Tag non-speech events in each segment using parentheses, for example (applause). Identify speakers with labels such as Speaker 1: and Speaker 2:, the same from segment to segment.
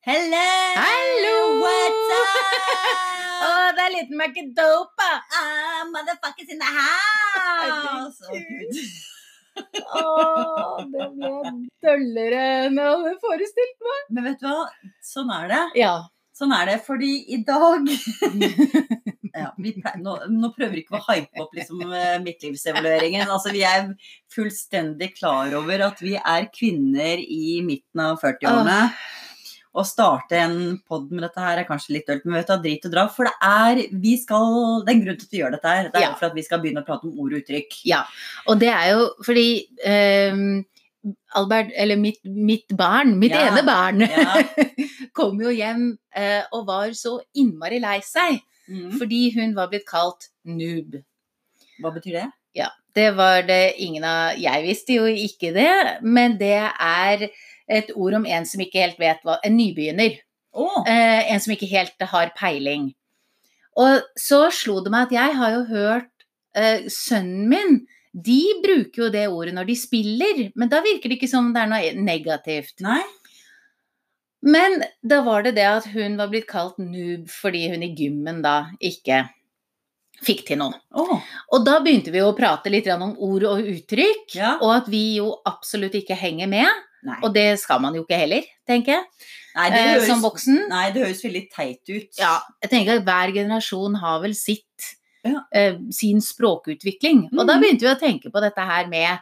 Speaker 1: Hello!
Speaker 2: Hallo!
Speaker 1: What's up?
Speaker 2: Å, det er liten Macedopa!
Speaker 1: Ah, motherfuckers in the house! Å,
Speaker 2: Herregud.
Speaker 1: Gud.
Speaker 2: Å, det ble døllere enn jeg hadde forestilt meg.
Speaker 1: Men vet du hva? Sånn er det.
Speaker 2: (laughs) Ja.
Speaker 1: Sånn er det, fordi i dag (laughs) ja, vi pleier, nå, nå prøver vi ikke å hype opp liksom, eh, midtlivsevalueringen. Altså, vi er fullstendig klar over at vi er kvinner i midten av 40-årene. Å starte en pod med dette her er kanskje litt dølt, men vet du, hva, drit og dra. For det er, vi skal, det er en grunn til at vi gjør dette her. Det er
Speaker 2: Ja.
Speaker 1: for at vi skal begynne å prate om ord og uttrykk.
Speaker 2: Ja, og det er jo fordi ehm, Albert, eller mitt, mitt barn, mitt
Speaker 1: Ja.
Speaker 2: ene barn,
Speaker 1: Ja.
Speaker 2: (laughs) kom jo hjem eh, og var så innmari lei seg
Speaker 1: Mm.
Speaker 2: fordi hun var blitt kalt noob.
Speaker 1: Hva betyr det?
Speaker 2: Det var det ingen av Jeg visste jo ikke det, men det er et ord om en som ikke helt vet hva En nybegynner.
Speaker 1: Å!
Speaker 2: Eh, en som ikke helt har peiling. Og så slo det meg at jeg har jo hørt eh, sønnen min De bruker jo det ordet når de spiller, men da virker det ikke som det er noe negativt.
Speaker 1: Nei.
Speaker 2: Men da var det det at hun var blitt kalt noob fordi hun i gymmen da ikke fikk til noe.
Speaker 1: Å!
Speaker 2: Og da begynte vi jo å prate litt grann om ord og uttrykk,
Speaker 1: Ja.
Speaker 2: og at vi jo absolutt ikke henger med.
Speaker 1: Nei.
Speaker 2: Og det skal man jo ikke heller, tenker jeg,
Speaker 1: Nei, det
Speaker 2: eh, som
Speaker 1: høres,
Speaker 2: voksen.
Speaker 1: nei, det høres veldig teit ut.
Speaker 2: ja, jeg tenker at hver generasjon har vel sitt,
Speaker 1: Ja.
Speaker 2: eh, sin språkutvikling. Og da
Speaker 1: Mhm.
Speaker 2: begynte vi å tenke på dette her med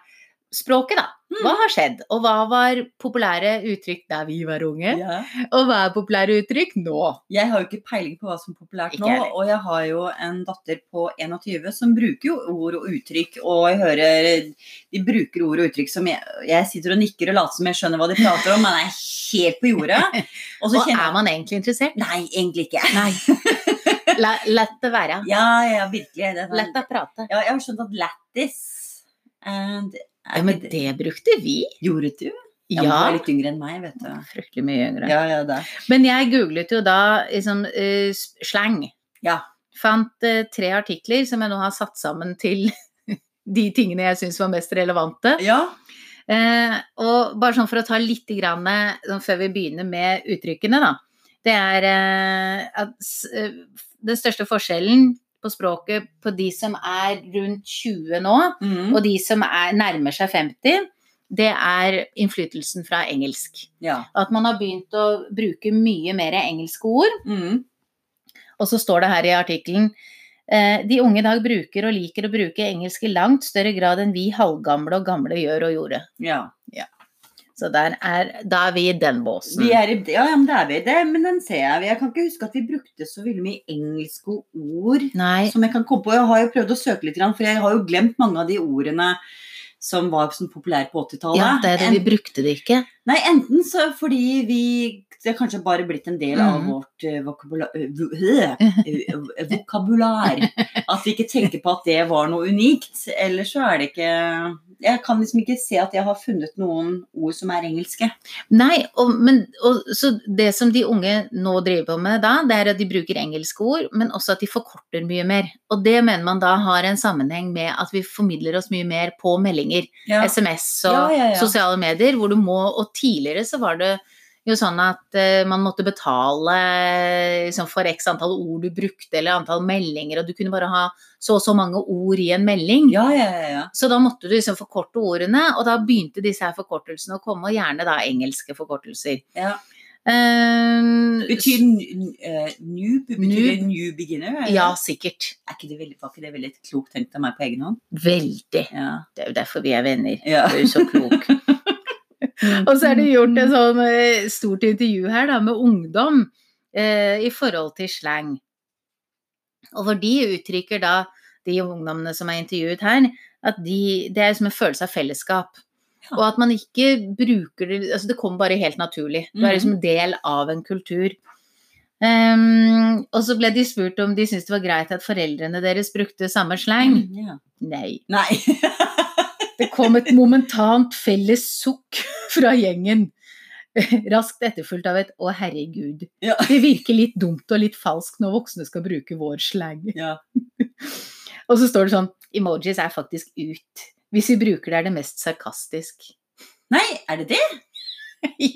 Speaker 2: språket, da.
Speaker 1: Mm.
Speaker 2: Hva har skjedd, og hva var populære uttrykk da vi var unge,
Speaker 1: Ja.
Speaker 2: og hva er populære uttrykk nå?
Speaker 1: Jeg har jo ikke peiling på hva som er populært
Speaker 2: Ikke
Speaker 1: nå,
Speaker 2: heller.
Speaker 1: og jeg har jo en datter på 21 som bruker jo ord og uttrykk, og jeg hører de bruker ord og uttrykk som jeg, jeg sitter og nikker og later som jeg skjønner hva de prater om, men jeg er helt på jordet.
Speaker 2: (laughs)
Speaker 1: Og så
Speaker 2: Og
Speaker 1: kjenner
Speaker 2: er
Speaker 1: jeg
Speaker 2: man egentlig interessert?
Speaker 1: Nei, egentlig
Speaker 2: (laughs)
Speaker 1: ikke. (laughs)
Speaker 2: Nei. La, lett å være.
Speaker 1: Ja, ja, virkelig. Det er sånn-
Speaker 2: Lett å prate.
Speaker 1: ja, jeg har skjønt at lættis and
Speaker 2: Ja, men det brukte vi.
Speaker 1: Gjorde du? Ja, men Du
Speaker 2: Ja.
Speaker 1: er litt yngre enn meg, vet du.
Speaker 2: Fryktelig mye yngre.
Speaker 1: Ja, ja, det.
Speaker 2: Men jeg googlet jo da liksom, eh, s- slang.
Speaker 1: Ja.
Speaker 2: Fant eh, tre artikler som jeg nå har satt sammen til (laughs) de tingene jeg syns var mest relevante.
Speaker 1: Ja.
Speaker 2: Eh, og bare sånn for å ta litt grann, eh, sånn før vi begynner med uttrykkene, da. Det er eh, at s- eh, den største forskjellen på språket på de som er rundt 20 nå,
Speaker 1: Mm.
Speaker 2: og de som er, nærmer seg 50, det er innflytelsen fra engelsk.
Speaker 1: ja.
Speaker 2: At man har begynt å bruke mye mer engelske ord.
Speaker 1: Mm.
Speaker 2: Og så står det her i artikkelen eh, de unge i dag bruker og liker å bruke engelsk i langt større grad enn vi halvgamle og gamle gjør og gjorde.
Speaker 1: ja.
Speaker 2: Så der er, da er vi i den båsen.
Speaker 1: Vi er i, ja, ja, men det er vi. Det, men den ser jeg. Jeg kan ikke huske at vi brukte så veldig mye engelske ord
Speaker 2: Nei.
Speaker 1: som jeg kan komme på. Jeg har jo prøvd å søke litt, grann, for jeg har jo glemt mange av de ordene som var sånn populære på 80-tallet.
Speaker 2: Ja, det er det, vi brukte det ikke.
Speaker 1: En- Nei, enten så fordi vi Det har kanskje bare blitt en del av
Speaker 2: Mhm.
Speaker 1: vårt eh, vokabula- eh, vo- øh, eh, vokabular. At vi ikke tenker på at det var noe unikt. Ellers så er det ikke Jeg kan liksom ikke se at jeg har funnet noen ord som er engelske.
Speaker 2: Nei, og, men, og, så det som de unge nå driver på med da, det er at de bruker engelske ord, men også at de forkorter mye mer. Og det mener man da har en sammenheng med at vi formidler oss mye mer på meldinger.
Speaker 1: Ja.
Speaker 2: SMS og
Speaker 1: Ja, ja, ja.
Speaker 2: sosiale medier, hvor du må Og tidligere så var det jo sånn at eh, man måtte betale liksom, for x antall ord du brukte, eller antall meldinger, og du kunne bare ha så og så mange ord i en melding.
Speaker 1: Ja, ja, ja, ja.
Speaker 2: Så da måtte du liksom forkorte ordene, og da begynte disse her forkortelsene å komme, og gjerne da engelske forkortelser.
Speaker 1: Ja.
Speaker 2: Ehm,
Speaker 1: Betyr n- eh, noob betyr
Speaker 2: Noob.
Speaker 1: det new beginner?
Speaker 2: s-
Speaker 1: eller?
Speaker 2: Ja, sikkert.
Speaker 1: Er ikke det veldig, var ikke det veldig klokt tenkt av meg på egen hånd?
Speaker 2: Veldig.
Speaker 1: Ja.
Speaker 2: Det er jo derfor vi er venner.
Speaker 1: ja.
Speaker 2: Du er jo så klok. Og så er det gjort
Speaker 1: Mm.
Speaker 2: et sånn eh, stort intervju her da, med ungdom eh, i forhold til slang. Og hvor de uttrykker da, de ungdommene som er intervjuet her, at de, det er som en følelse av fellesskap.
Speaker 1: Ja.
Speaker 2: Og at man ikke bruker det altså Det kommer bare helt naturlig. Du
Speaker 1: Mhm.
Speaker 2: er liksom del av en kultur. Ehm, og så ble de spurt om de syntes det var greit at foreldrene deres brukte samme slang.
Speaker 1: Mm. Ja.
Speaker 2: Nei.
Speaker 1: Nei. (laughs)
Speaker 2: Det kom et momentant felles sukk fra gjengen. Raskt etterfulgt av et 'å, herregud'.
Speaker 1: Ja.
Speaker 2: Det virker litt dumt og litt falskt når voksne skal bruke vår slang.
Speaker 1: Ja.
Speaker 2: (laughs) Og så står det sånn 'emojis er
Speaker 1: (laughs)
Speaker 2: faktisk ut'. Hvis vi bruker det, er det mest sarkastisk.
Speaker 1: Nei, er det det?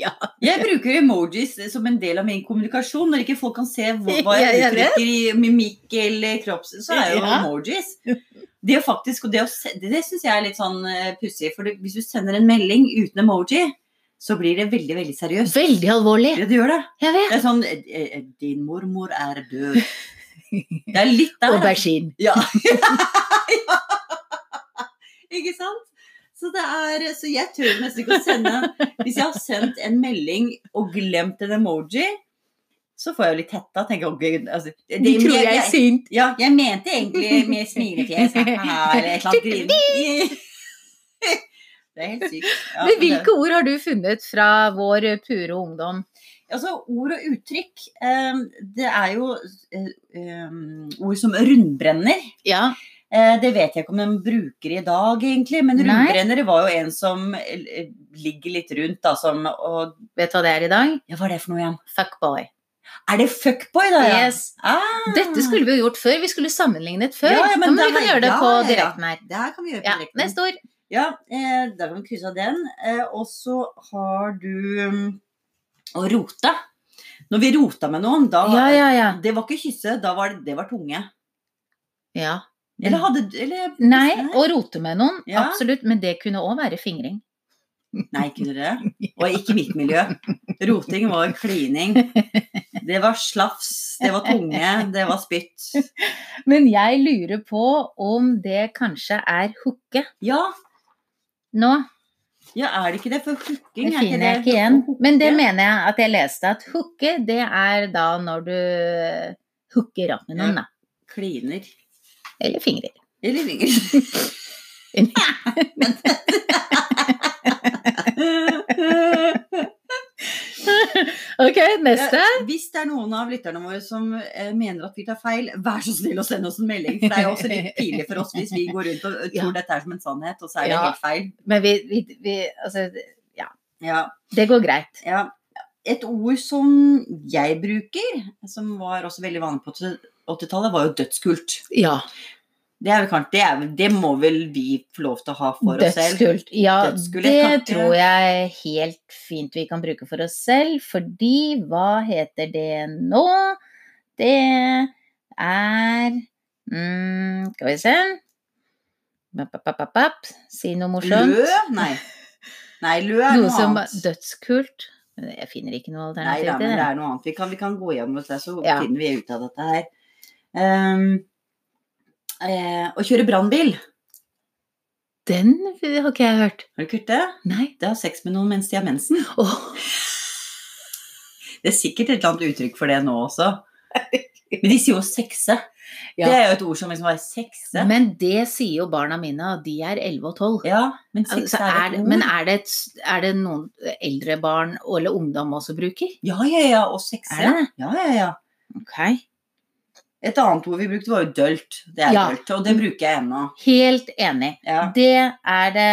Speaker 2: ja.
Speaker 1: Jeg bruker emojis som en del av min kommunikasjon. Når ikke folk kan se hva hva jeg
Speaker 2: (laughs) Ja, jeg vet.
Speaker 1: uttrykker i mimikk eller kropps, så er jo
Speaker 2: Ja.
Speaker 1: emojis. Det å faktisk, og det, å se- det, det syns jeg er litt sånn eh, pussig. For det, hvis du sender en melding uten emoji, så blir det veldig, veldig seriøst.
Speaker 2: Veldig alvorlig.
Speaker 1: Ja, det gjør det.
Speaker 2: Jeg vet.
Speaker 1: Det er sånn eh, eh, Din mormor er død. Det er litt der. altså.
Speaker 2: Aubergine.
Speaker 1: Ja. ja. Ikke sant? Så, det er, så jeg tør nesten ikke å sende Hvis jeg har sendt en melding og glemt en emoji, så får jeg jo litt hetta. Tenker jeg, å gud altså, det-
Speaker 2: De tror
Speaker 1: jeg-
Speaker 2: jeg er
Speaker 1: jeg-
Speaker 2: sint.
Speaker 1: Ja, jeg mente egentlig med smilefjes haha, eller et eller annet
Speaker 2: (laughs)
Speaker 1: grin. Det er helt sykt. Ja,
Speaker 2: Men
Speaker 1: men det-
Speaker 2: hvilke ord har du funnet fra vår pure ungdom?
Speaker 1: Altså, ord og uttrykk, eh, det er jo eh, eh, ord som rundbrenner.
Speaker 2: Ja.
Speaker 1: Eh, Det vet jeg ikke om de bruker i dag, egentlig. Men
Speaker 2: Nei.
Speaker 1: rundbrenner var jo en som eh, ligger litt rundt, da, som og,
Speaker 2: Vet du hva det er i dag?
Speaker 1: Ja, hva er det for noe igjen?
Speaker 2: Fuckboy.
Speaker 1: Er det fuckboy, da? Ja?
Speaker 2: Yes.
Speaker 1: Ah,
Speaker 2: Dette skulle vi jo gjort før. Vi skulle sammenlignet før.
Speaker 1: Ja, ja, men
Speaker 2: men
Speaker 1: det
Speaker 2: vi kan
Speaker 1: her-
Speaker 2: gjøre det
Speaker 1: ja,
Speaker 2: på
Speaker 1: ja, ja.
Speaker 2: direkten her.
Speaker 1: Det her kan vi gjøre på
Speaker 2: Ja,
Speaker 1: direkten.
Speaker 2: neste ord.
Speaker 1: Ja, eh, da kan vi krysse av den. Eh, og så har du um, å rote. Når vi rota med noen, da
Speaker 2: Ja, ja, ja.
Speaker 1: Det var ikke kysse, da var det, det var tunge.
Speaker 2: ja.
Speaker 1: Eller hadde eller,
Speaker 2: Mm. Nei, å rote med noen.
Speaker 1: Ja.
Speaker 2: Absolutt. Men det kunne òg være fingring.
Speaker 1: Nei, kunne dere det? Og ikke mitt miljø. Roting var klining. Det var slafs, det var tunge, det var spytt.
Speaker 2: Men jeg lurer på om det kanskje er hooke
Speaker 1: Ja,
Speaker 2: nå.
Speaker 1: ja er det ikke det? For hooking
Speaker 2: Det
Speaker 1: er ikke
Speaker 2: finner
Speaker 1: det.
Speaker 2: jeg ikke igjen.
Speaker 1: Hooke.
Speaker 2: Men det mener jeg at jeg leste at hooke, det er da når du eh, hooker opp med
Speaker 1: Ja.
Speaker 2: noen, da.
Speaker 1: Kliner.
Speaker 2: Eller fingrer.
Speaker 1: Eller
Speaker 2: (laughs)
Speaker 1: vinger.
Speaker 2: Ok, neste.
Speaker 1: Hvis det er noen av lytterne våre som eh, mener at vi tar feil, vær så snill å sende oss en melding. For det er jo også litt pinlig for oss hvis vi går rundt og tror
Speaker 2: Ja.
Speaker 1: dette er som en sannhet, og så er det
Speaker 2: Ja.
Speaker 1: helt feil.
Speaker 2: Men vi, vi, vi Altså,
Speaker 1: Ja.
Speaker 2: det går greit.
Speaker 1: Ja, et ord som jeg bruker, som var også veldig vanlig på 80-tallet, var jo dødskult.
Speaker 2: Ja.
Speaker 1: Det, er vel kanskje, det, er, vel- det må vel vi få lov til å ha for oss selv.
Speaker 2: Dødskult. Ja,
Speaker 1: Dødskult,
Speaker 2: det
Speaker 1: jeg takker.
Speaker 2: tror jeg helt fint vi kan bruke for oss selv, fordi hva heter det nå? Det er mm, Skal vi se Bap, bap, bap, bap, bap. Si noe morsomt.
Speaker 1: Lø? Nei. Nei, lø er
Speaker 2: Noe
Speaker 1: noe
Speaker 2: som
Speaker 1: annet.
Speaker 2: Dødskult. Jeg finner ikke noe
Speaker 1: Nei, da, men
Speaker 2: alternativ
Speaker 1: det
Speaker 2: til det.
Speaker 1: er noe annet. Vi kan, vi kan gå gjennom dette, så
Speaker 2: Ja.
Speaker 1: finner vi ut av dette her. Ehm, eh, å kjøre brannbil,
Speaker 2: Den har ikke jeg hørt.
Speaker 1: har du ikke hørt det?
Speaker 2: Nei.
Speaker 1: Det har sex med noen mens de har mensen.
Speaker 2: Åh,
Speaker 1: Det er sikkert et eller annet uttrykk for det nå
Speaker 2: (laughs)
Speaker 1: også. Men de sier jo sexe.
Speaker 2: Ja.
Speaker 1: Det er jo et ord som liksom er sexe.
Speaker 2: men det sier jo barna mine, og de er 11 og 12.
Speaker 1: Ja, men
Speaker 2: Altså,
Speaker 1: sex er,
Speaker 2: er,
Speaker 1: et ord.
Speaker 2: men er det, et, er det noen eldre barn eller ungdom også bruker?
Speaker 1: Ja, ja, ja, og sexe.
Speaker 2: Er det?
Speaker 1: Ja, ja, ja.
Speaker 2: Ok.
Speaker 1: Et annet ord vi brukte var jo dølt. Det er
Speaker 2: Ja.
Speaker 1: dølt, og det bruker jeg ennå.
Speaker 2: Helt enig.
Speaker 1: Ja.
Speaker 2: Det er det,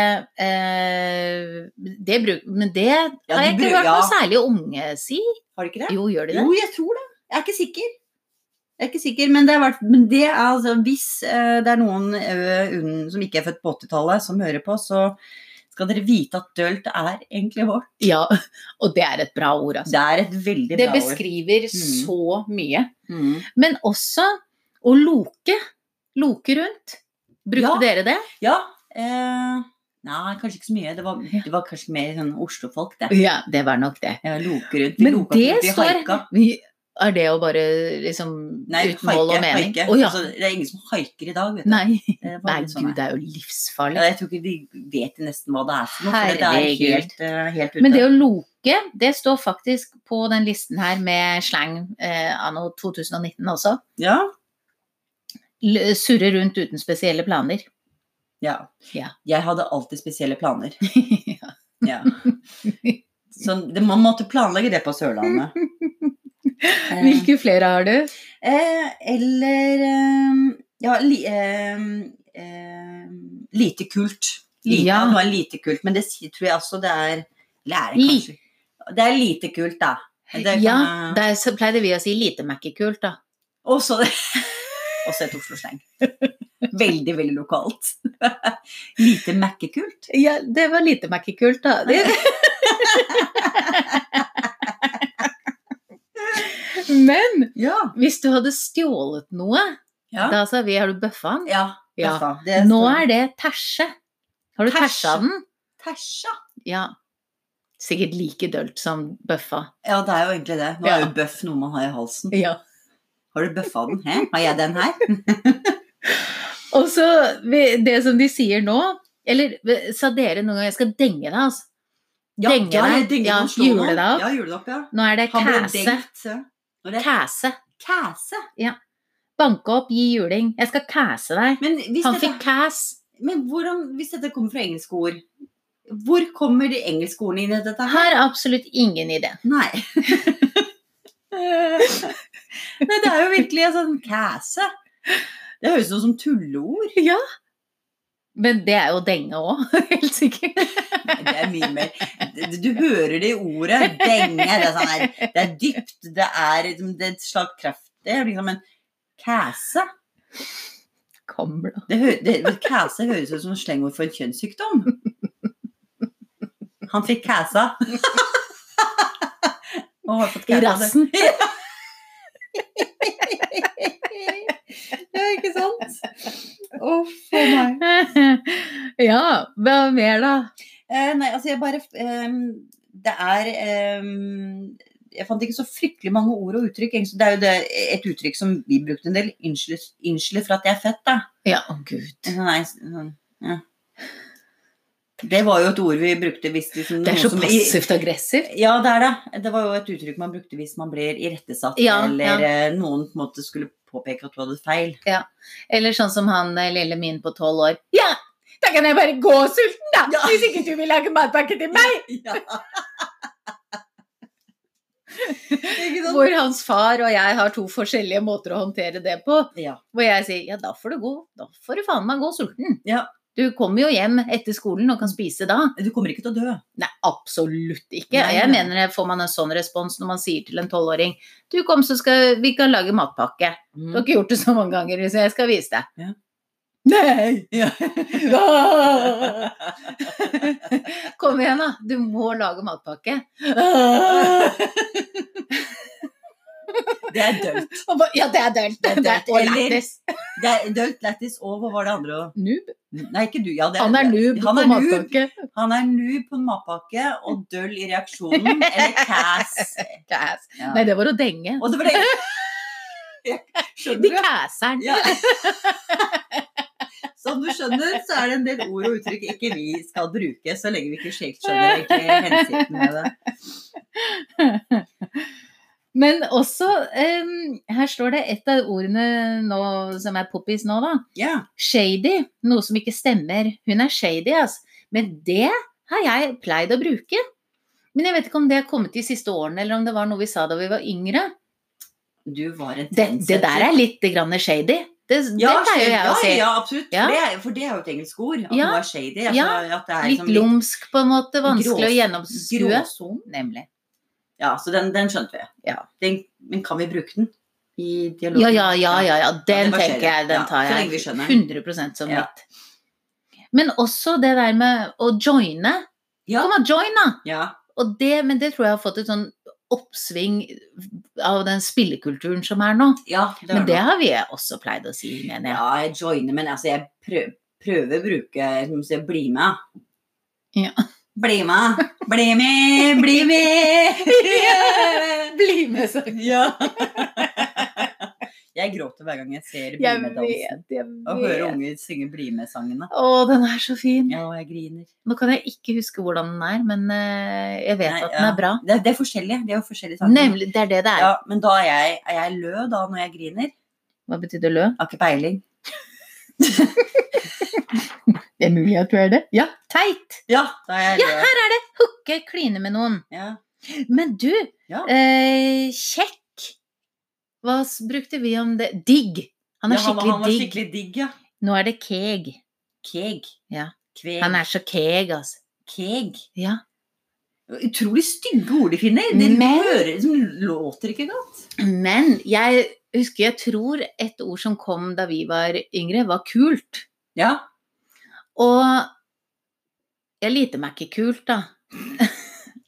Speaker 2: eh, det bruk, Men det har
Speaker 1: de
Speaker 2: jeg ikke
Speaker 1: bru-
Speaker 2: hørt
Speaker 1: ja.
Speaker 2: noe særlig unge si.
Speaker 1: Har du ikke det?
Speaker 2: Jo, gjør de det?
Speaker 1: Jo, jeg tror det. Jeg er ikke sikker. Jeg er ikke sikker, Men det er, hvert- men det er altså Hvis eh, det er noen eh, unn- som ikke er født på 80-tallet som hører på, så skal dere vite at dølt er egentlig vårt.
Speaker 2: Ja. Og det er et bra ord, altså.
Speaker 1: Det er et veldig
Speaker 2: Det
Speaker 1: bra ord.
Speaker 2: beskriver
Speaker 1: Mm.
Speaker 2: så mye.
Speaker 1: Mm.
Speaker 2: Men også å loke. Loke rundt. Brukte
Speaker 1: Ja.
Speaker 2: dere det?
Speaker 1: Ja. Eh, nei, kanskje ikke så mye. Det var, det var kanskje mer sånn Oslo-folk, det.
Speaker 2: Ja, det var nok det.
Speaker 1: Jeg loker rundt. Vi
Speaker 2: Men
Speaker 1: loka
Speaker 2: det
Speaker 1: rundt, vi
Speaker 2: står
Speaker 1: haika.
Speaker 2: vi, Er det å bare liksom
Speaker 1: Nei,
Speaker 2: uten mål og
Speaker 1: haike,
Speaker 2: mening?
Speaker 1: haike.
Speaker 2: Å ja.
Speaker 1: Altså, det er ingen som haiker i dag, vet du.
Speaker 2: Nei.
Speaker 1: Det var
Speaker 2: Nei,
Speaker 1: litt sånn
Speaker 2: gud,
Speaker 1: her.
Speaker 2: det er jo
Speaker 1: ja,
Speaker 2: livsfarlig.
Speaker 1: jeg tror ikke de vet nesten hva det er for noe. For det er
Speaker 2: Herregud.
Speaker 1: helt, eh, helt ute.
Speaker 2: Men det å loke, det står faktisk på den listen her med slang eh, anno 2019 også.
Speaker 1: ja,
Speaker 2: L surre rundt uten spesielle planer. (laughs)
Speaker 1: ja.
Speaker 2: Ja.
Speaker 1: Jeg hadde alltid spesielle planer.
Speaker 2: (laughs) ja.
Speaker 1: Ja. Så det, man måtte planlegge det på
Speaker 2: (laughs)
Speaker 1: Sørlandet. Eh,
Speaker 2: Hvilke flere har du?
Speaker 1: eh, eller eh, Ja, li, eh, eh, lite kult. Lite,
Speaker 2: Ja.
Speaker 1: ja. Det var lite kult, men det si- tror jeg også det er Lære, kanskje. Det er lite kult, da. Det kan
Speaker 2: Ja,
Speaker 1: jeg-
Speaker 2: der så pleide vi å si lite Mac-kult, da.
Speaker 1: Og så (laughs) Også et Oslo-sleng. Veldig, veldig lokalt. (laughs) Lite Mac-kult.
Speaker 2: Ja, det var lite Mac-kult, da. Det, (laughs) Men
Speaker 1: Ja.
Speaker 2: hvis du hadde stjålet noe,
Speaker 1: Ja.
Speaker 2: da sa vi har du bøffa den?
Speaker 1: ja.
Speaker 2: Ja.
Speaker 1: Bøffa. Det
Speaker 2: Nå
Speaker 1: står-
Speaker 2: er det terse. Har du
Speaker 1: Terse?
Speaker 2: tersa den?
Speaker 1: Tersa.
Speaker 2: Ja. Sikkert like dølt som bøffa.
Speaker 1: Ja, det er jo egentlig det. Nå
Speaker 2: Ja.
Speaker 1: er jo bøff noe man har i halsen.
Speaker 2: Ja.
Speaker 1: Har du bøffa den? Hæ? Har jeg den her?
Speaker 2: Og så vi- det som de sier nå Eller sa dere noen gang 'jeg skal denge deg', altså? Denge
Speaker 1: ja, jeg
Speaker 2: deg.
Speaker 1: denger
Speaker 2: Ja,
Speaker 1: den, slå den
Speaker 2: hjule deg opp.
Speaker 1: Ja, hjule deg opp, ja.
Speaker 2: Nå er det
Speaker 1: Han ble
Speaker 2: kæse.
Speaker 1: dengt. se. Nå er det
Speaker 2: Kæse.
Speaker 1: kæse.
Speaker 2: Banke opp, gi juling. Jeg skal kæse deg.
Speaker 1: Men hvis,
Speaker 2: Han
Speaker 1: dette,
Speaker 2: fikk kæs.
Speaker 1: men hvordan, hvis dette kommer fra engelske ord, hvor kommer de engelske ordene inn i dette her?
Speaker 2: Har absolutt ingen (laughs) idé.
Speaker 1: Nei. (laughs) Nei, det er jo virkelig en sånn kæse. Det høres ut som tulleord.
Speaker 2: Ja. Men det er jo denge òg, (laughs) helt sikkert.
Speaker 1: Nei, Det er mye mer. Du- Du hører det i ordet. Denge. Det er, sånn her, det er dypt. Det er, liksom- det er slagkraftig. Det er liksom en kæse.
Speaker 2: Kommer da.
Speaker 1: Det hø det, kæse høres ut som et slengord for en kjønnssykdom. Han fikk kæsa. Og har fått
Speaker 2: I
Speaker 1: kæsa.
Speaker 2: rassen.
Speaker 1: Ja, ikke sant? Uff a meg.
Speaker 2: (laughs) Ja, hva mer da?
Speaker 1: Eh, nei, altså jeg bare ehm, Det er ehm, Jeg fant ikke så fryktelig mange ord og uttrykk. egentlig. Det er jo det, et uttrykk som vi brukte en del. Unnskyld unnskyld for at jeg er fett, da.
Speaker 2: Ja, å gud.
Speaker 1: Nei, sånn, ja. Det var jo et ord vi brukte hvis liksom,
Speaker 2: Det er
Speaker 1: noen
Speaker 2: så
Speaker 1: som-
Speaker 2: passivt aggressivt.
Speaker 1: Ja, det er det. Det var jo et uttrykk man brukte hvis man blir irettesatt,
Speaker 2: Ja,
Speaker 1: eller
Speaker 2: ja.
Speaker 1: eh, noen på en måte skulle påpeke at du hadde
Speaker 2: (laughs)
Speaker 1: feil.
Speaker 2: Eller sånn som han eh, lille min på tolv år. Ja! Da kan jeg bare gå sulten, da!
Speaker 1: Ja.
Speaker 2: Hvis ikke du vil lage matpakke til meg!
Speaker 1: Ikke sant?
Speaker 2: Hvor hans far og jeg har to forskjellige måter å håndtere det på.
Speaker 1: Ja.
Speaker 2: Hvor jeg sier ja, da får du gå. Da får du faen meg gå sulten.
Speaker 1: Ja.
Speaker 2: Du kommer jo hjem etter skolen og kan spise da.
Speaker 1: Du kommer ikke til å dø.
Speaker 2: Nei, absolutt ikke.
Speaker 1: Nei,
Speaker 2: jeg
Speaker 1: nei.
Speaker 2: mener det får man en sånn respons når man sier til en tolvåring du kom, så skal vi kan lage matpakke. Du har ikke gjort det så mange ganger, så jeg skal vise deg.
Speaker 1: Mm. Ja.
Speaker 2: Nei!
Speaker 1: Ja. (laughs) Ah!
Speaker 2: Kom igjen, da. Du må lage
Speaker 1: (laughs)
Speaker 2: matpakke.
Speaker 1: (laughs) Det er dølt.
Speaker 2: Og ba- Ja, det er dølt.
Speaker 1: Det er dølt,
Speaker 2: Og
Speaker 1: eller-
Speaker 2: lættis.
Speaker 1: Det er dølt lættis, og hva var det andre?
Speaker 2: Noob.
Speaker 1: Nei, ikke du. Ja, det,
Speaker 2: Han er noob
Speaker 1: Han
Speaker 2: på
Speaker 1: er noob.
Speaker 2: matpakke.
Speaker 1: Han er noob på en matpakke og døll i reaksjonen.
Speaker 2: (laughs)
Speaker 1: Eller cass.
Speaker 2: Kæs.
Speaker 1: Ja.
Speaker 2: Nei, det var å denge.
Speaker 1: Og det var
Speaker 2: (laughs)
Speaker 1: det.
Speaker 2: De
Speaker 1: Skjønner du?
Speaker 2: kæser'n.
Speaker 1: Ja. (laughs) Som du skjønner, så er det en del ord og uttrykk ikke vi skal bruke, så lenge vi ikke helt skjønner egentlig hensikten med det.
Speaker 2: Men også, em, her står det et av ordene nå, som er poppis nå, da.
Speaker 1: Ja.
Speaker 2: Shady. Noe som ikke stemmer. Hun er shady, altså. Men det har jeg pleid å bruke. Men jeg vet ikke om det er kommet de siste årene, eller om det var noe vi sa da vi var yngre.
Speaker 1: Du var en
Speaker 2: Det, det der er litt grann shady. Det, det pleier jo
Speaker 1: Sånn
Speaker 2: jeg
Speaker 1: ja,
Speaker 2: å si.
Speaker 1: Ja, absolutt.
Speaker 2: Ja.
Speaker 1: Det er, for det er jo et engelsk ord. At
Speaker 2: Ja.
Speaker 1: noe er shady. Altså, at det er
Speaker 2: Litt
Speaker 1: liksom litt
Speaker 2: lumsk, på en måte. Vanskelig
Speaker 1: grå-
Speaker 2: å gjennomskue.
Speaker 1: Gråson.
Speaker 2: Nemlig.
Speaker 1: Ja, så den, den skjønte vi.
Speaker 2: Ja.
Speaker 1: Den, men kan vi bruke den i dialogen?
Speaker 2: Ja, ja, ja, ja, ja.
Speaker 1: det
Speaker 2: Den
Speaker 1: var
Speaker 2: tenker
Speaker 1: skjedd.
Speaker 2: jeg, den
Speaker 1: Ja,
Speaker 2: tar
Speaker 1: så lenge vi
Speaker 2: jeg
Speaker 1: skjønner.
Speaker 2: 100 som
Speaker 1: Ja.
Speaker 2: mitt. Men også det der med å joine.
Speaker 1: Ja.
Speaker 2: Kom da, join, da!
Speaker 1: Ja.
Speaker 2: Og det, men det tror jeg har fått et sånn oppsving av den spillekulturen som er nå.
Speaker 1: ja
Speaker 2: Men det
Speaker 1: noe.
Speaker 2: har vi også pleid å si, mener jeg.
Speaker 1: Ja, jeg joiner, men altså, jeg prøver, prøver å bruke som å si, bli med.
Speaker 2: Ja.
Speaker 1: Bli med! Bli med! Bli med!
Speaker 2: (laughs) Bli med, så.
Speaker 1: ja. Jeg gråter hver gang jeg ser Bli
Speaker 2: Jeg
Speaker 1: med-dansen.
Speaker 2: vet, jeg
Speaker 1: Og hører
Speaker 2: vet.
Speaker 1: unger synge Bli med-sangene.
Speaker 2: Å, den er så fin.
Speaker 1: Ja, og jeg griner.
Speaker 2: Nå kan jeg ikke huske hvordan den er, men eh, jeg vet
Speaker 1: Nei,
Speaker 2: at den
Speaker 1: ja.
Speaker 2: er bra.
Speaker 1: Det, det er forskjellige. Det er jo forskjellige sanger.
Speaker 2: Nemlig, det er det det er.
Speaker 1: Ja, men da er jeg, er jeg lø da når jeg griner.
Speaker 2: Hva betydde lø?
Speaker 1: Har ikke peiling.
Speaker 2: Det er mulig at du er det. Ja, teit!
Speaker 1: Ja, da er jeg
Speaker 2: Ja,
Speaker 1: lø.
Speaker 2: her er det! Hooke, kline med noen.
Speaker 1: Ja.
Speaker 2: Men du,
Speaker 1: Ja.
Speaker 2: eh, kjekk! Hva s- brukte vi om det? Digg! Han er
Speaker 1: Ja,
Speaker 2: skikkelig
Speaker 1: han var
Speaker 2: digg.
Speaker 1: skikkelig digg, ja.
Speaker 2: Nå er det keg.
Speaker 1: Keg.
Speaker 2: Ja.
Speaker 1: Kveg.
Speaker 2: Han er så keg, altså.
Speaker 1: Keg.
Speaker 2: Ja.
Speaker 1: Utrolig stygge ord de finner. Det
Speaker 2: Men-
Speaker 1: hører, som låter ikke godt.
Speaker 2: Men jeg husker, jeg tror et ord som kom da vi var yngre, var kult.
Speaker 1: Ja.
Speaker 2: Og jeg lite meg ikke kult, da.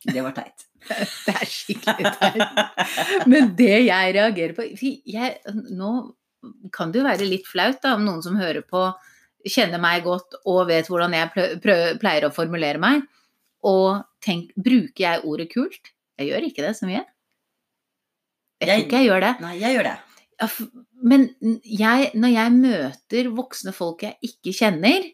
Speaker 1: Det var teit.
Speaker 2: (laughs) Det er skikkelig teit. Men det jeg reagerer på jeg, Nå kan det jo være litt flaut da, om noen som hører på, kjenner meg godt og vet hvordan jeg plø- prø- pleier å formulere meg. Og tenk, bruker jeg ordet kult? Jeg gjør ikke det så mye. Jeg tror
Speaker 1: Jeg-
Speaker 2: ikke jeg gjør det.
Speaker 1: Nei, jeg gjør det.
Speaker 2: Ja, f- Men n- jeg, når jeg møter voksne folk jeg ikke kjenner,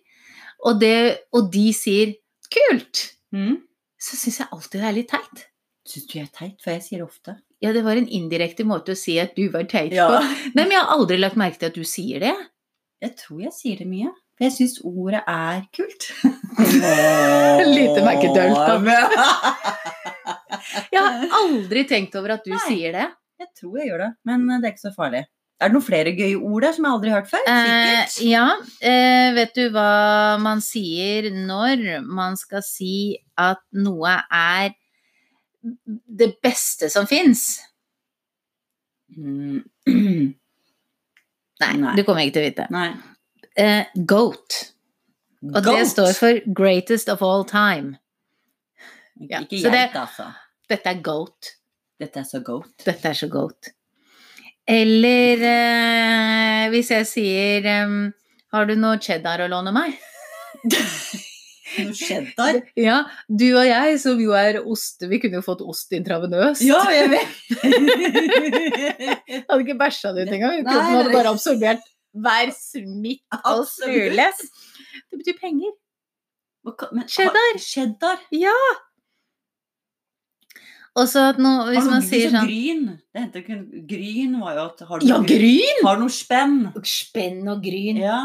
Speaker 2: og, det, og de sier 'kult',
Speaker 1: Mm.
Speaker 2: så syns jeg alltid det er litt teit.
Speaker 1: Syns du jeg er teit? For jeg sier det ofte.
Speaker 2: Ja, det var en indirekte måte å si at du var teit
Speaker 1: Ja.
Speaker 2: på. Nei, men jeg har aldri lagt merke til at du
Speaker 1: (laughs)
Speaker 2: sier det.
Speaker 1: Jeg tror jeg sier det mye. For jeg syns ordet er kult.
Speaker 2: Lite merkedølt, da.
Speaker 1: da.
Speaker 2: (laughs) Jeg har aldri tenkt over at du
Speaker 1: Nei.
Speaker 2: sier det.
Speaker 1: Jeg tror jeg gjør det, men det er ikke så farlig. Er det noen flere gøye ord der som jeg aldri har hørt før? Sikkert.
Speaker 2: Eh, ja, eh, vet du hva man sier når man skal si at noe er det beste som fins?
Speaker 1: Mm. (clears throat)
Speaker 2: Nei,
Speaker 1: Nei.
Speaker 2: du kommer ikke til å vite.
Speaker 1: Nei.
Speaker 2: Eh, goat. Og det
Speaker 1: Goat.
Speaker 2: står for greatest of all time. ja,
Speaker 1: Ikke
Speaker 2: så
Speaker 1: geit,
Speaker 2: det-
Speaker 1: altså.
Speaker 2: Dette er goat.
Speaker 1: Dette er så goat.
Speaker 2: Dette er så goat. Eller eh, hvis jeg sier em, Har du noe cheddar å låne (laughs) meg?
Speaker 1: Noe cheddar?
Speaker 2: Ja, du og jeg som jo er ost Vi kunne jo fått ost intravenøst.
Speaker 1: Ja, jeg (laughs) vet!
Speaker 2: (laughs) Hadde ikke bæsja det ut engang.
Speaker 1: Nei,
Speaker 2: Kroppen hadde
Speaker 1: nei.
Speaker 2: bare absorbert hver (laughs) smitt og
Speaker 1: Absolutt.
Speaker 2: smule. Det betyr penger.
Speaker 1: Hva ka- men-
Speaker 2: Cheddar.
Speaker 1: har- Cheddar.
Speaker 2: Og så at noe, hvis
Speaker 1: Har
Speaker 2: man
Speaker 1: du
Speaker 2: sier sånn
Speaker 1: Gryn. Det henter kun Gryn var jo at Har du
Speaker 2: Ja, gryn!
Speaker 1: Har noe spenn?
Speaker 2: Spenn og gryn.
Speaker 1: Ja.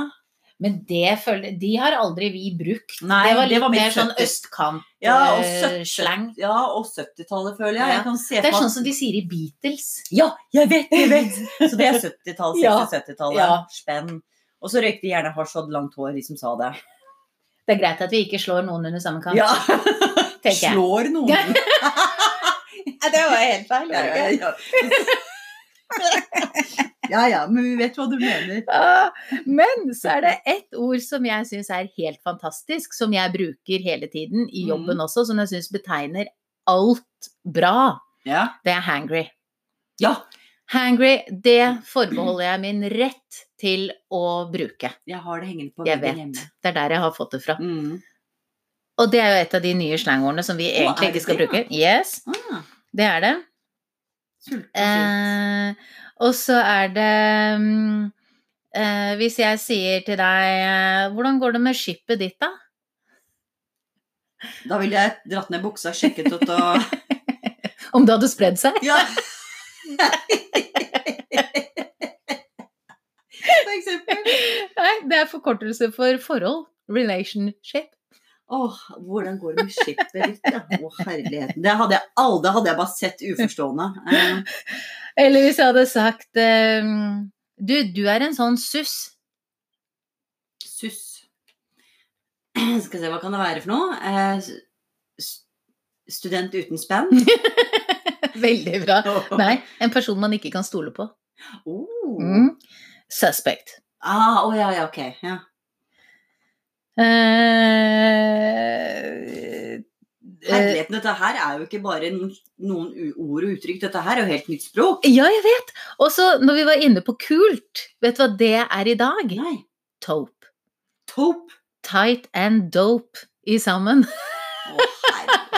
Speaker 2: Men det føler, de har aldri vi brukt.
Speaker 1: Nei,
Speaker 2: det var
Speaker 1: det
Speaker 2: litt
Speaker 1: var mitt
Speaker 2: mer sånn eh,
Speaker 1: 70. Ja, og 70.
Speaker 2: østkant-slang.
Speaker 1: Ja, og 70-tallet, føler jeg.
Speaker 2: Ja.
Speaker 1: Jeg kan se
Speaker 2: det er
Speaker 1: for meg-
Speaker 2: sånn som de sier i Beatles.
Speaker 1: Ja, jeg vet, jeg vet! (laughs) Så det er 70-tallet,
Speaker 2: Ja,
Speaker 1: 60-70-tallet.
Speaker 2: ja.
Speaker 1: Spenn. Og så røykte de gjerne hasj og hadde langt hår, de som sa det.
Speaker 2: Det er greit at vi ikke slår noen under samme kant,
Speaker 1: Ja,
Speaker 2: (laughs) tenker jeg.
Speaker 1: Slår noen.
Speaker 2: Ja. det var helt feil.
Speaker 1: (laughs) Ja, ja, ja. (laughs) ja ja, men vi vet hva du mener.
Speaker 2: Men så er det ett ord som jeg syns er helt fantastisk, som jeg bruker hele tiden i jobben også, som jeg syns betegner alt bra.
Speaker 1: Ja.
Speaker 2: Det er hangry.
Speaker 1: Ja.
Speaker 2: Hangry, det forbeholder jeg min rett til å bruke.
Speaker 1: Jeg har det hengende på
Speaker 2: Jeg
Speaker 1: veggen
Speaker 2: vet.
Speaker 1: hjemme.
Speaker 2: Det er der jeg har fått det fra.
Speaker 1: Mm.
Speaker 2: Og det er jo et av de nye slangordene som vi
Speaker 1: Å, er
Speaker 2: egentlig
Speaker 1: det
Speaker 2: ikke skal
Speaker 1: det,
Speaker 2: bruke. Yes,
Speaker 1: Ah,
Speaker 2: det er det.
Speaker 1: sulten sitt.
Speaker 2: Eh, og så er det mm, eh, Hvis jeg sier til deg eh, Hvordan går det med skipet ditt, da?
Speaker 1: Da ville jeg dratt ned buksa, sjekket ut og
Speaker 2: (laughs) (laughs) Om det hadde spredd seg?
Speaker 1: Ja. For eksempel.
Speaker 2: (laughs) Nei, det er forkortelse for forhold. Relationship.
Speaker 1: Åh, hvordan går det med skipet ditt, ja? Å, herligheten. Det hadde jeg aldri, det hadde jeg bare sett uforstående. Eh,
Speaker 2: Eller hvis jeg hadde sagt eh, mm, Du, du er en sånn suss.
Speaker 1: suss. Skal vi se, hva kan det være for noe? Eh, s- s- student uten spenn?
Speaker 2: (laughs) Veldig bra. (laughs) Nei, en person man ikke kan stole på.
Speaker 1: Oh.
Speaker 2: Mm. Suspect.
Speaker 1: Ah, å ja, ja, ok. Ja.
Speaker 2: Eh, eh,
Speaker 1: Herligheten, dette her er jo ikke bare no- noen u- ord og uttrykk, dette her er jo helt nytt språk.
Speaker 2: Ja, jeg vet. Og så når vi var inne på kult, vet du hva det er i dag?
Speaker 1: Nei.
Speaker 2: Taupe.
Speaker 1: Taupe.
Speaker 2: Tight and dope i sammen.
Speaker 1: Å, herregud.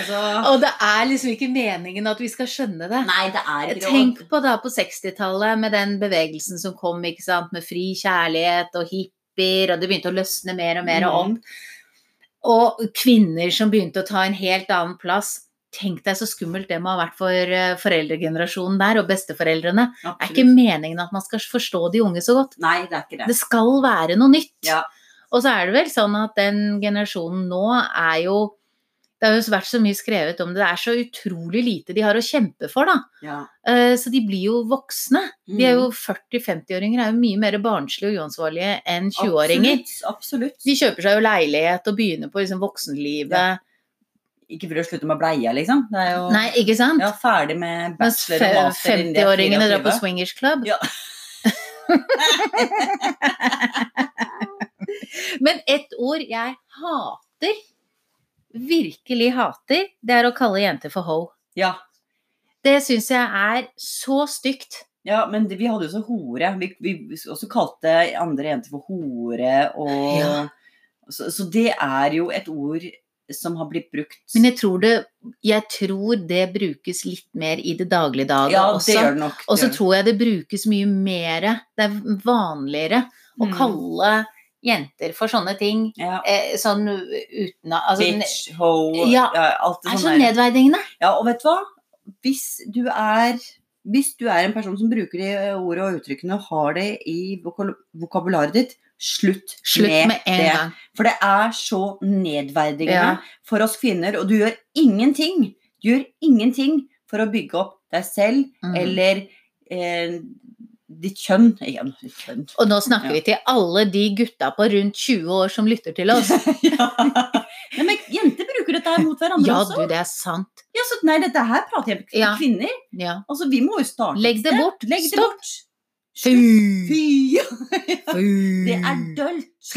Speaker 1: Altså,
Speaker 2: Og det er liksom ikke meningen at vi skal skjønne det.
Speaker 1: nei, det er ikke
Speaker 2: Tenk på da på 60-tallet med den bevegelsen som kom ikke sant? med fri kjærlighet og hippier, og det begynte å løsne mer og mer
Speaker 1: Mhm.
Speaker 2: og
Speaker 1: Mm,
Speaker 2: opp. Og kvinner som begynte å ta en helt annen plass. Tenk deg så skummelt det må ha vært for eh, foreldregenerasjonen der, og besteforeldrene. Det er ikke meningen at man skal forstå de unge så godt.
Speaker 1: Nei, det er ikke det.
Speaker 2: Det skal være noe nytt.
Speaker 1: Ja.
Speaker 2: Og så er det vel sånn at den generasjonen nå er jo Det har jo vært så mye skrevet om det. Det er så utrolig lite de har å kjempe for, da.
Speaker 1: Ja.
Speaker 2: Eh, Så de blir jo voksne. De er
Speaker 1: Mm.
Speaker 2: jo 40-50-åringer er jo mye mer barnslige og uansvarlige enn 20-åringer.
Speaker 1: Absolutt, Absolutt.
Speaker 2: De kjøper seg jo leilighet og begynner på liksom voksenlivet.
Speaker 1: Ikke for å slutte med bleia, liksom. Det er jo
Speaker 2: Nei, ikke sant?
Speaker 1: Ja, ferdig med
Speaker 2: Mens
Speaker 1: bachelor og master innen de er
Speaker 2: 50-åringene drar på
Speaker 1: 24.
Speaker 2: swingers club.
Speaker 1: Ja.
Speaker 2: (laughs) Men ett ord jeg hater, virkelig hater, det er å kalle jenter for ho.
Speaker 1: Ja.
Speaker 2: Det syns jeg er så stygt.
Speaker 1: Ja, men det, vi hadde jo så hore. Vi, vi også kalte andre jenter for hore og
Speaker 2: Ja.
Speaker 1: så, så det er jo et ord som har blitt brukt
Speaker 2: Men jeg tror det, jeg tror det brukes litt mer i det daglige daget
Speaker 1: Ja, det
Speaker 2: også.
Speaker 1: gjør det nok. det
Speaker 2: Og så
Speaker 1: gjør det.
Speaker 2: tror jeg det brukes mye mer. Det er vanligere å
Speaker 1: Mm.
Speaker 2: kalle jenter for sånne ting.
Speaker 1: ja.
Speaker 2: Eh, sånn uten å- altså, Det
Speaker 1: Bitch, ho,
Speaker 2: Ja.
Speaker 1: alt det
Speaker 2: er så
Speaker 1: sånne der.
Speaker 2: nedverdigende.
Speaker 1: Ja, og vet du hva? Hvis du er hvis du er en person som bruker de ordene og uttrykkene og har det i vokal- vokabularet ditt, slutt,
Speaker 2: Slutt med en
Speaker 1: det.
Speaker 2: gang.
Speaker 1: For det er så nedverdigende
Speaker 2: Ja.
Speaker 1: for oss kvinner, og du gjør ingenting. Du gjør ingenting for å bygge opp deg selv
Speaker 2: Mm.
Speaker 1: eller eh, ditt kjønn. Ja, ditt kjønn.
Speaker 2: Og nå snakker
Speaker 1: Ja.
Speaker 2: vi til alle de gutta på rundt 20 år som lytter til oss.
Speaker 1: (laughs) ja. Nei, men jenter bruker dette her mot hverandre
Speaker 2: Ja, du,
Speaker 1: også.
Speaker 2: det er sant.
Speaker 1: Ja, så, nei, dette her prater jeg om
Speaker 2: Ja.
Speaker 1: kvinner.
Speaker 2: Ja.
Speaker 1: Altså, vi må jo starte.
Speaker 2: Legg det bort.
Speaker 1: Legg det
Speaker 2: Stopp.
Speaker 1: bort. Slutt.
Speaker 2: Fy.
Speaker 1: Fy!
Speaker 2: Fy.
Speaker 1: Det er dølt.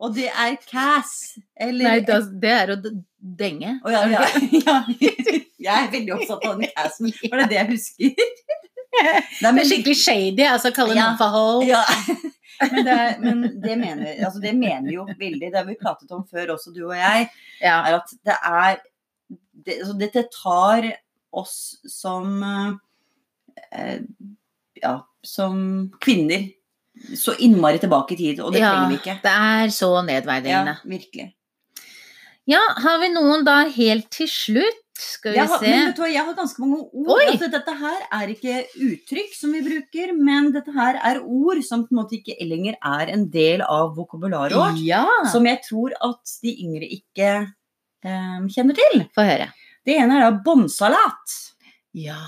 Speaker 1: Og det er cass. Eller
Speaker 2: Nei, da- det er å d- denge.
Speaker 1: Å, ja, ja, (laughs) ja. Jeg er veldig opptatt av den cassen. Var det det jeg husker? Nei,
Speaker 2: Det er skikkelig shady, altså. Kalle
Speaker 1: Ja.
Speaker 2: noen for ho.
Speaker 1: ja. men, det, er- men det mener vi altså det mener vi jo veldig. Det har vi pratet om før også, du og jeg.
Speaker 2: Ja.
Speaker 1: er at det er det, altså Dette tar oss som eh, eh, Ja, som kvinner så innmari tilbake i tid, og det
Speaker 2: Ja,
Speaker 1: trenger vi ikke.
Speaker 2: Det er så
Speaker 1: Ja,
Speaker 2: nedverdigende.
Speaker 1: virkelig.
Speaker 2: Ja, har vi noen da helt til slutt? Skal vi
Speaker 1: Jeg har,
Speaker 2: se.
Speaker 1: men vet du hva, jeg har ganske mange ord.
Speaker 2: Oi!
Speaker 1: Altså, dette her er ikke uttrykk som vi bruker, men dette her er ord som på en måte ikke lenger er en del av vokabularet vårt.
Speaker 2: Ja,
Speaker 1: Som jeg tror at de yngre ikke eh, kjenner til.
Speaker 2: få høre.
Speaker 1: Det ene er da bånnsalat.
Speaker 2: Ja.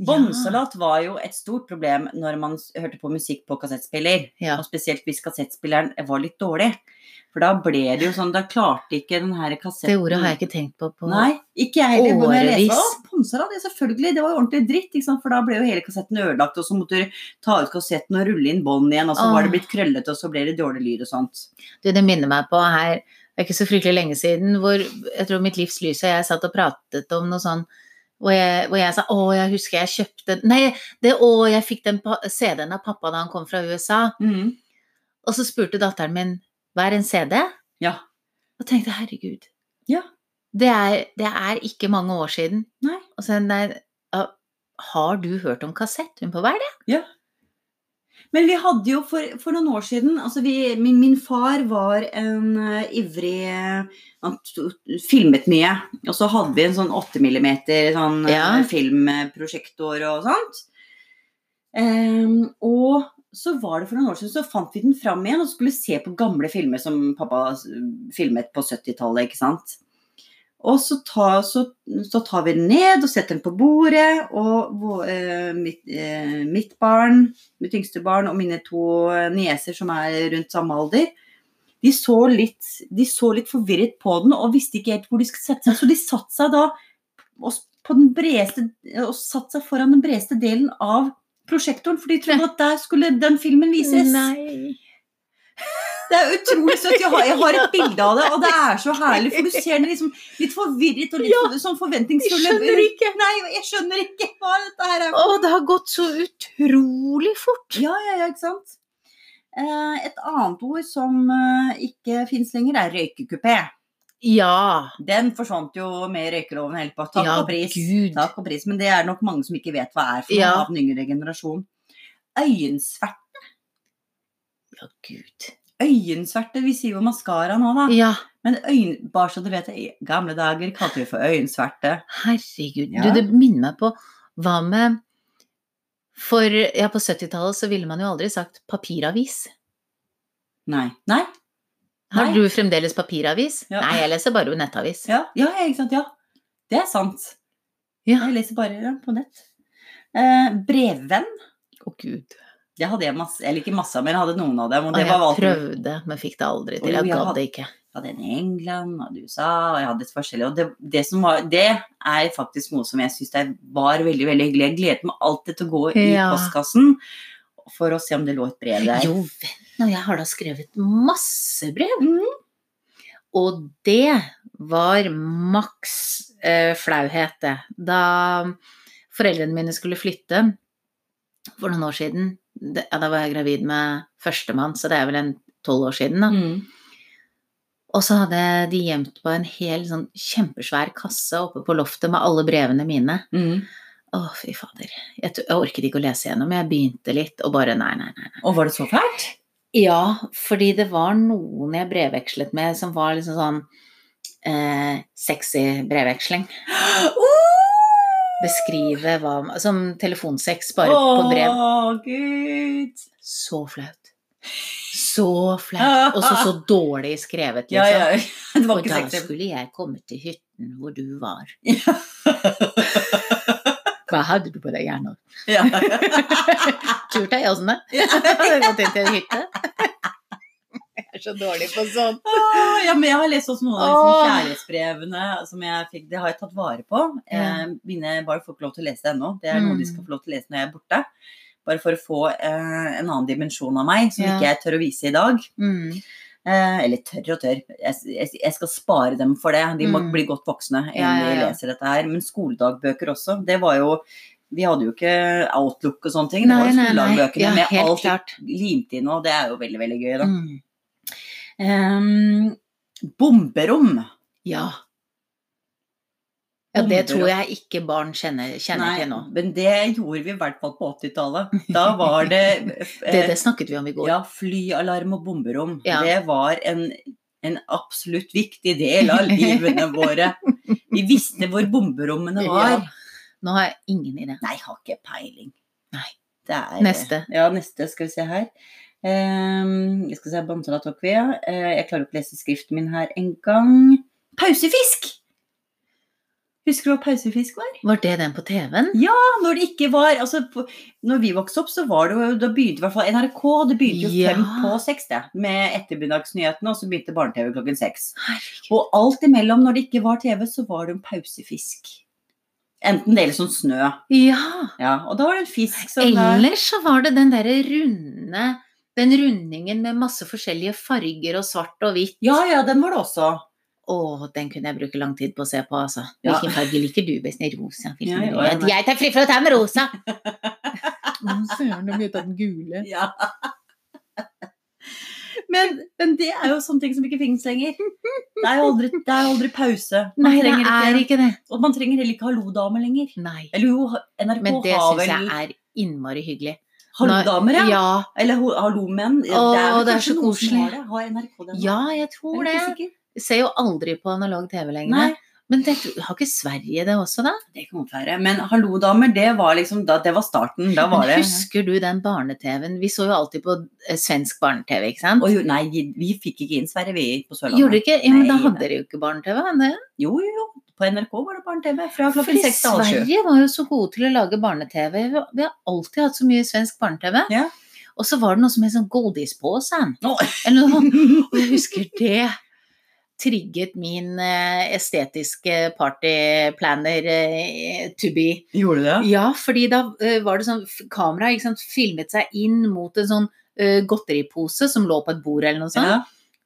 Speaker 1: Båndsalat var jo et stort problem når man s- hørte på musikk på kassettspiller.
Speaker 2: Ja.
Speaker 1: Og spesielt hvis kassettspilleren var litt dårlig. For da ble det jo sånn, da klarte ikke den her kassetten
Speaker 2: Det ordet har jeg ikke tenkt på. på.
Speaker 1: Mm. Nei, ikke jeg heller. Når jeg leste,
Speaker 2: Årevis.
Speaker 1: «Å, Båndsalat, ja selvfølgelig, det var jo ordentlig dritt. Ikke sant? For da ble jo hele kassetten ødelagt, og så måtte du ta ut kassetten og rulle inn bånd igjen. Og så
Speaker 2: Åh.
Speaker 1: var det blitt krøllete, og så ble det dårlig lyd og sånt.
Speaker 2: Du, det minner meg på her, det er ikke så fryktelig lenge siden, hvor jeg tror mitt livs lys og jeg satt og pratet om noe sånn, hvor jeg, hvor jeg sa 'Å, jeg husker jeg kjøpte Nei, det 'Å, jeg fikk den pa- CD-en av pappa da han kom fra USA'.
Speaker 1: Mhm.
Speaker 2: Og så spurte datteren min 'Hva er en CD?'
Speaker 1: Ja.
Speaker 2: Og tenkte 'Herregud'.
Speaker 1: Ja.
Speaker 2: Det er, det er ikke mange år siden.
Speaker 1: Nei.
Speaker 2: Og så nei, «Ja, har du hørt om kassett? Hun på hva er det?
Speaker 1: Men vi hadde jo for, for noen år siden altså vi, min, min far var en eh, ivrig eh, Han to- filmet mye. Og så hadde vi en sånn 8 mm sånn, eh,
Speaker 2: Ja.
Speaker 1: filmprosjektor og sånt. Ehm, og så var det for noen år siden, så fant vi den fram igjen og skulle se på gamle filmer som pappa s- filmet på 70-tallet, ikke sant. Og så, ta, så, så tar vi den ned og setter den på bordet, og vår- eh, mitt, eh, mitt barn mitt yngste barn og mine to nieser som er rundt samme alder, de så litt, de så litt forvirret på den og visste ikke helt hvor de skulle sette seg. Så de satte seg da og, s- på den bredeste, og satt seg foran den bredeste delen av prosjektoren, for de trodde at der skulle den filmen vises.
Speaker 2: Nei.
Speaker 1: Det er utrolig søtt. Jeg har, jeg har et bilde av det, og det er så herlig.
Speaker 2: (laughs)
Speaker 1: For du ser den liksom litt forvirret og litt
Speaker 2: Ja,
Speaker 1: for- sånn
Speaker 2: Jeg
Speaker 1: forventningsfull.
Speaker 2: skjønner ikke.
Speaker 1: Nei, jeg skjønner ikke hva dette her er.
Speaker 2: Å, det har gått så utrolig fort.
Speaker 1: Ja, ja, ja, ikke sant? Eh, Et annet ord som eh, ikke fins lenger, er røykekupé.
Speaker 2: Ja.
Speaker 1: Den forsvant jo med røykeloven helt på takk
Speaker 2: ja,
Speaker 1: og pris.
Speaker 2: Gud.
Speaker 1: Takk og pris, Men det er nok mange som ikke vet hva er for noe
Speaker 2: Ja.
Speaker 1: av den yngre generasjon. Øyensverte.
Speaker 2: Ja, Gud.
Speaker 1: Øyensverte, vi sier jo maskara nå, da.
Speaker 2: Ja,
Speaker 1: Men øyn, bare så du vet, i gamle dager kalte vi for øyensverte.
Speaker 2: herregud.
Speaker 1: Ja.
Speaker 2: Du, det minner meg på Hva med For ja, på 70-tallet så ville man jo aldri sagt papiravis.
Speaker 1: Nei. Nei?
Speaker 2: Har
Speaker 1: Nei.
Speaker 2: du fremdeles papiravis?
Speaker 1: Ja.
Speaker 2: Nei, jeg leser bare nettavis.
Speaker 1: Ja, ja, ja, ikke sant? Ja. Det er sant.
Speaker 2: Ja.
Speaker 1: Jeg leser bare ja, på nett. Eh, brevvenn.
Speaker 2: Å, gud.
Speaker 1: Det hadde jeg masse, eller ikke masse av, men jeg hadde noen av dem. Og
Speaker 2: Og
Speaker 1: det
Speaker 2: jeg
Speaker 1: var valgt
Speaker 2: prøvde, men fikk det aldri
Speaker 1: Å,
Speaker 2: til.
Speaker 1: jo,
Speaker 2: Jeg
Speaker 1: jeg
Speaker 2: gadd
Speaker 1: hadde-
Speaker 2: det ikke.
Speaker 1: Jeg hadde en i England, og i USA, og jeg hadde et forskjellig. Og det, det, som var, det er faktisk noe som jeg syns var veldig veldig hyggelig. Jeg gledet meg alltid til å gå i
Speaker 2: Ja.
Speaker 1: postkassen for å se om det lå et brev der.
Speaker 2: Jo, vent nå, jeg har da skrevet masse brev.
Speaker 1: Mm.
Speaker 2: Og det var maks eh, flauhet, det. Da foreldrene mine skulle flytte for noen år siden det, ja, Da var jeg gravid med førstemann, så det er vel en tolv år siden, da.
Speaker 1: Mm.
Speaker 2: Og så hadde de gjemt på en hel sånn kjempesvær kasse oppe på loftet med alle brevene mine.
Speaker 1: Mm.
Speaker 2: Å, fy fader. Jeg, t- jeg orket ikke å lese gjennom. Jeg begynte litt og bare nei, nei, nei.
Speaker 1: Og var det så fælt?
Speaker 2: Ja, fordi det var noen jeg brevvekslet med som var liksom sånn eh, sexy brevveksling. Beskrive hva Som telefonsex, bare på brev.
Speaker 1: Å, gud.
Speaker 2: Så flaut. Så flaut. Og så (laughs) så dårlig skrevet, liksom.
Speaker 1: Ja, ja. (laughs) Det var
Speaker 2: Og
Speaker 1: ikke
Speaker 2: da
Speaker 1: sexy.
Speaker 2: skulle jeg komme til hytten hvor du (laughs) var. Hva hadde du på deg, (laughs) Gernot?
Speaker 1: Ja.
Speaker 2: Turtøy, åssen det? (laughs) Gått inn til en hytte? Jeg er så dårlig på sånt.
Speaker 1: Å, Ah, ja, men jeg har lest også noen av de
Speaker 2: Åh.
Speaker 1: sånne kjærlighetsbrevene som jeg fikk. Det har jeg tatt vare på. Eh, mine bare får ikke lov til å lese det ennå. Det er noe
Speaker 2: Mm.
Speaker 1: de skal få lov til å lese når jeg er borte. Bare for å få eh, en annen dimensjon av meg som
Speaker 2: Ja.
Speaker 1: ikke jeg tør å vise i dag.
Speaker 2: Mm.
Speaker 1: Eh, eller tør og tør. Jeg, jeg, jeg skal spare dem for det. De må
Speaker 2: Mm.
Speaker 1: bli godt voksne enn
Speaker 2: Ja, ja,
Speaker 1: de
Speaker 2: ja.
Speaker 1: leser dette her. Men skoledagbøker også. Det var jo Vi hadde jo ikke Outlook og sånne ting. Det
Speaker 2: Nei,
Speaker 1: var jo
Speaker 2: nei, nei.
Speaker 1: skoledagbøkene
Speaker 2: Ja,
Speaker 1: med
Speaker 2: helt
Speaker 1: alt
Speaker 2: klart.
Speaker 1: limt inn, og det er jo veldig, veldig gøy, da.
Speaker 2: Mm.
Speaker 1: Ehm, bomberom.
Speaker 2: Ja. Ja, det
Speaker 1: Bomber
Speaker 2: tror
Speaker 1: og-
Speaker 2: jeg ikke barn kjenner, kjenner til nå.
Speaker 1: men det gjorde vi i hvert fall på 80-tallet.
Speaker 2: (laughs)
Speaker 1: Da var det, eh,
Speaker 2: Det, det snakket vi om i går.
Speaker 1: ja, flyalarm og bomberom.
Speaker 2: Ja.
Speaker 1: Det var en, en absolutt viktig del av livene våre. Vi visste hvor bomberommene var.
Speaker 2: Ja. Nå har jeg ingen idé.
Speaker 1: Nei, har ikke peiling.
Speaker 2: Nei.
Speaker 1: Det er, eh,
Speaker 2: Neste.
Speaker 1: Ja, neste skal vi se her. Ehm, jeg skal se Bantala tok vi, ja. Eh, jeg klarer ikke å lese skriften min her engang. Pausefisk! Husker du hva pausefisk var?
Speaker 2: Var det den på TV-en?
Speaker 1: når det ikke var altså, på- Når vi vokste opp, så var det jo Da begynte i hvert fall NRK, det begynte jo
Speaker 2: Ja.
Speaker 1: fem på seks, det. Med ettermiddagsnyhetene, og så begynte barne-TV klokken seks.
Speaker 2: Herregud.
Speaker 1: Og alt imellom, når det ikke var TV, så var det en pausefisk. Enten det eller sånn snø.
Speaker 2: Ja.
Speaker 1: Ja, og da var det en fisk som eh,
Speaker 2: Ellers så var det den derre runde Den rundingen med masse forskjellige farger og svart og hvitt.
Speaker 1: Ja, ja, den var det også.
Speaker 2: Å, den kunne jeg bruke lang tid på å se på, altså.
Speaker 1: Ja.
Speaker 2: Hvilken farge liker du best? Nei, Rosa. Hvilken
Speaker 1: Ja,
Speaker 2: vil
Speaker 1: ja,
Speaker 2: du?
Speaker 1: ja.
Speaker 2: jeg tar fri fra å ta med rosa!
Speaker 1: (laughs)
Speaker 2: Søren, de vil ta den gule.
Speaker 1: Ja. Men, men det er jo sånne ting som ikke finnes lenger. Det er jo aldri, det er jo aldri pause. Man
Speaker 2: Nei, det
Speaker 1: trenger
Speaker 2: er
Speaker 1: ikke,
Speaker 2: ikke det.
Speaker 1: og man trenger heller ikke hallo-dame lenger.
Speaker 2: Nei.
Speaker 1: Eller jo, NRK
Speaker 2: Men det
Speaker 1: har
Speaker 2: syns
Speaker 1: vel
Speaker 2: jeg er innmari hyggelig.
Speaker 1: hallo-damer, ja.
Speaker 2: Ja,
Speaker 1: Eller ho- hallo-menn. Det
Speaker 2: Åh,
Speaker 1: vel
Speaker 2: det er
Speaker 1: kanskje
Speaker 2: så
Speaker 1: noen som
Speaker 2: koselig.
Speaker 1: Har, det. har NRK den?
Speaker 2: ja jeg tror
Speaker 1: Jeg
Speaker 2: det.
Speaker 1: er ikke sikker.
Speaker 2: Ser jo aldri på analog TV lenger.
Speaker 1: Nei,
Speaker 2: Men det, tror- har ikke Sverige det også, da?
Speaker 1: det kan godt være. Men hallo-damer, det var liksom da, Det var starten. Da var
Speaker 2: Men
Speaker 1: det
Speaker 2: husker du den barne-TV-en? Vi så jo alltid på eh, svensk barne-TV, ikke sant?
Speaker 1: Å, jo, Nei, vi fikk ikke inn Sverre, vi på Sørlandet.
Speaker 2: Gjorde du ikke? Ja, men da
Speaker 1: Nei,
Speaker 2: hadde
Speaker 1: nei.
Speaker 2: dere jo ikke barne-TV. hadde dere?
Speaker 1: Jo, jo, jo. På NRK var det barne-TV fra
Speaker 2: Fordi
Speaker 1: klokken seks til halv sju.
Speaker 2: Sverige var jo så gode til å lage barne-TV. Vi har- Vi har alltid hatt så mye svensk barne-TV.
Speaker 1: Ja.
Speaker 2: Og så var det noe som het sånn Goldispåsen.
Speaker 1: Nå.
Speaker 2: Eller noe sånn sånt. Og jeg husker det trigget min eh, estetiske partyplanner eh, to be.
Speaker 1: (laughs) Gjorde du det?
Speaker 2: Ja, fordi da eh, var det sånn f- kamera ikke sant, filmet seg inn mot en sånn eh, godteripose som lå på et bord eller noe sånt.
Speaker 1: Ja.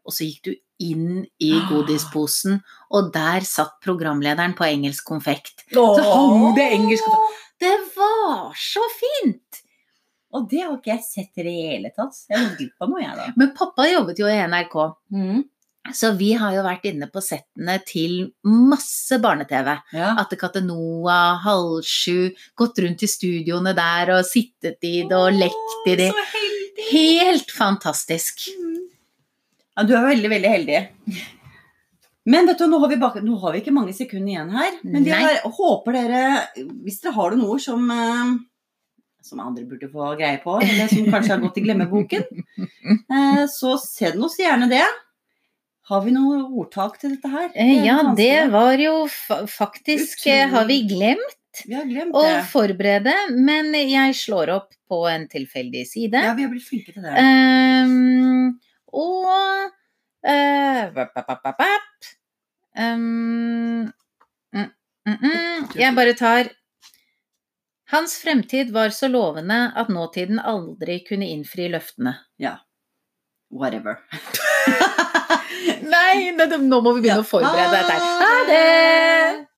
Speaker 2: Og så gikk du inn i godisposen, og der satt programlederen på engelsk konfekt.
Speaker 1: Så
Speaker 2: hang det engelsk på- Det var så fint!
Speaker 1: Og det har ikke jeg sett i det hele tatt. Jeg har gått glipp av noe, jeg, da.
Speaker 2: Men pappa jobbet jo i NRK, Mm. så vi har jo vært inne på settene til masse barne-TV.
Speaker 1: Ja.
Speaker 2: Atte Katenoa, Halv sju, gått rundt i studioene der og sittet i det og lekt i det.
Speaker 1: Så heldig!
Speaker 2: Helt fantastisk.
Speaker 1: Ja, du er veldig, veldig heldig. Men vet du, nå har, vi bak... nå har vi ikke mange sekunder igjen her. Men vi
Speaker 2: Nei.
Speaker 1: har... håper dere, hvis dere har noen ord som, eh, som andre burde få greie på, eller som kanskje har gått i glemmeboken, eh, så send oss gjerne det. Har vi noe ordtak til dette her?
Speaker 2: Eh, Ja, det
Speaker 1: vanskelig.
Speaker 2: var jo fa- faktisk eh, Har vi glemt?
Speaker 1: Vi har glemt
Speaker 2: å
Speaker 1: det.
Speaker 2: forberede, men jeg slår opp på en tilfeldig side.
Speaker 1: Ja, vi har blitt flinke til
Speaker 2: Eh.
Speaker 1: det.
Speaker 2: Ehm, og eh, vap, vap, vap, vap, vap. Ehm, mm, mm, mm. Jeg bare tar Hans fremtid var så lovende at nåtiden aldri kunne innfri løftene.
Speaker 1: Whatever.
Speaker 2: Nei, nettopp, nå må vi begynne å forberede dette. her. Ha det!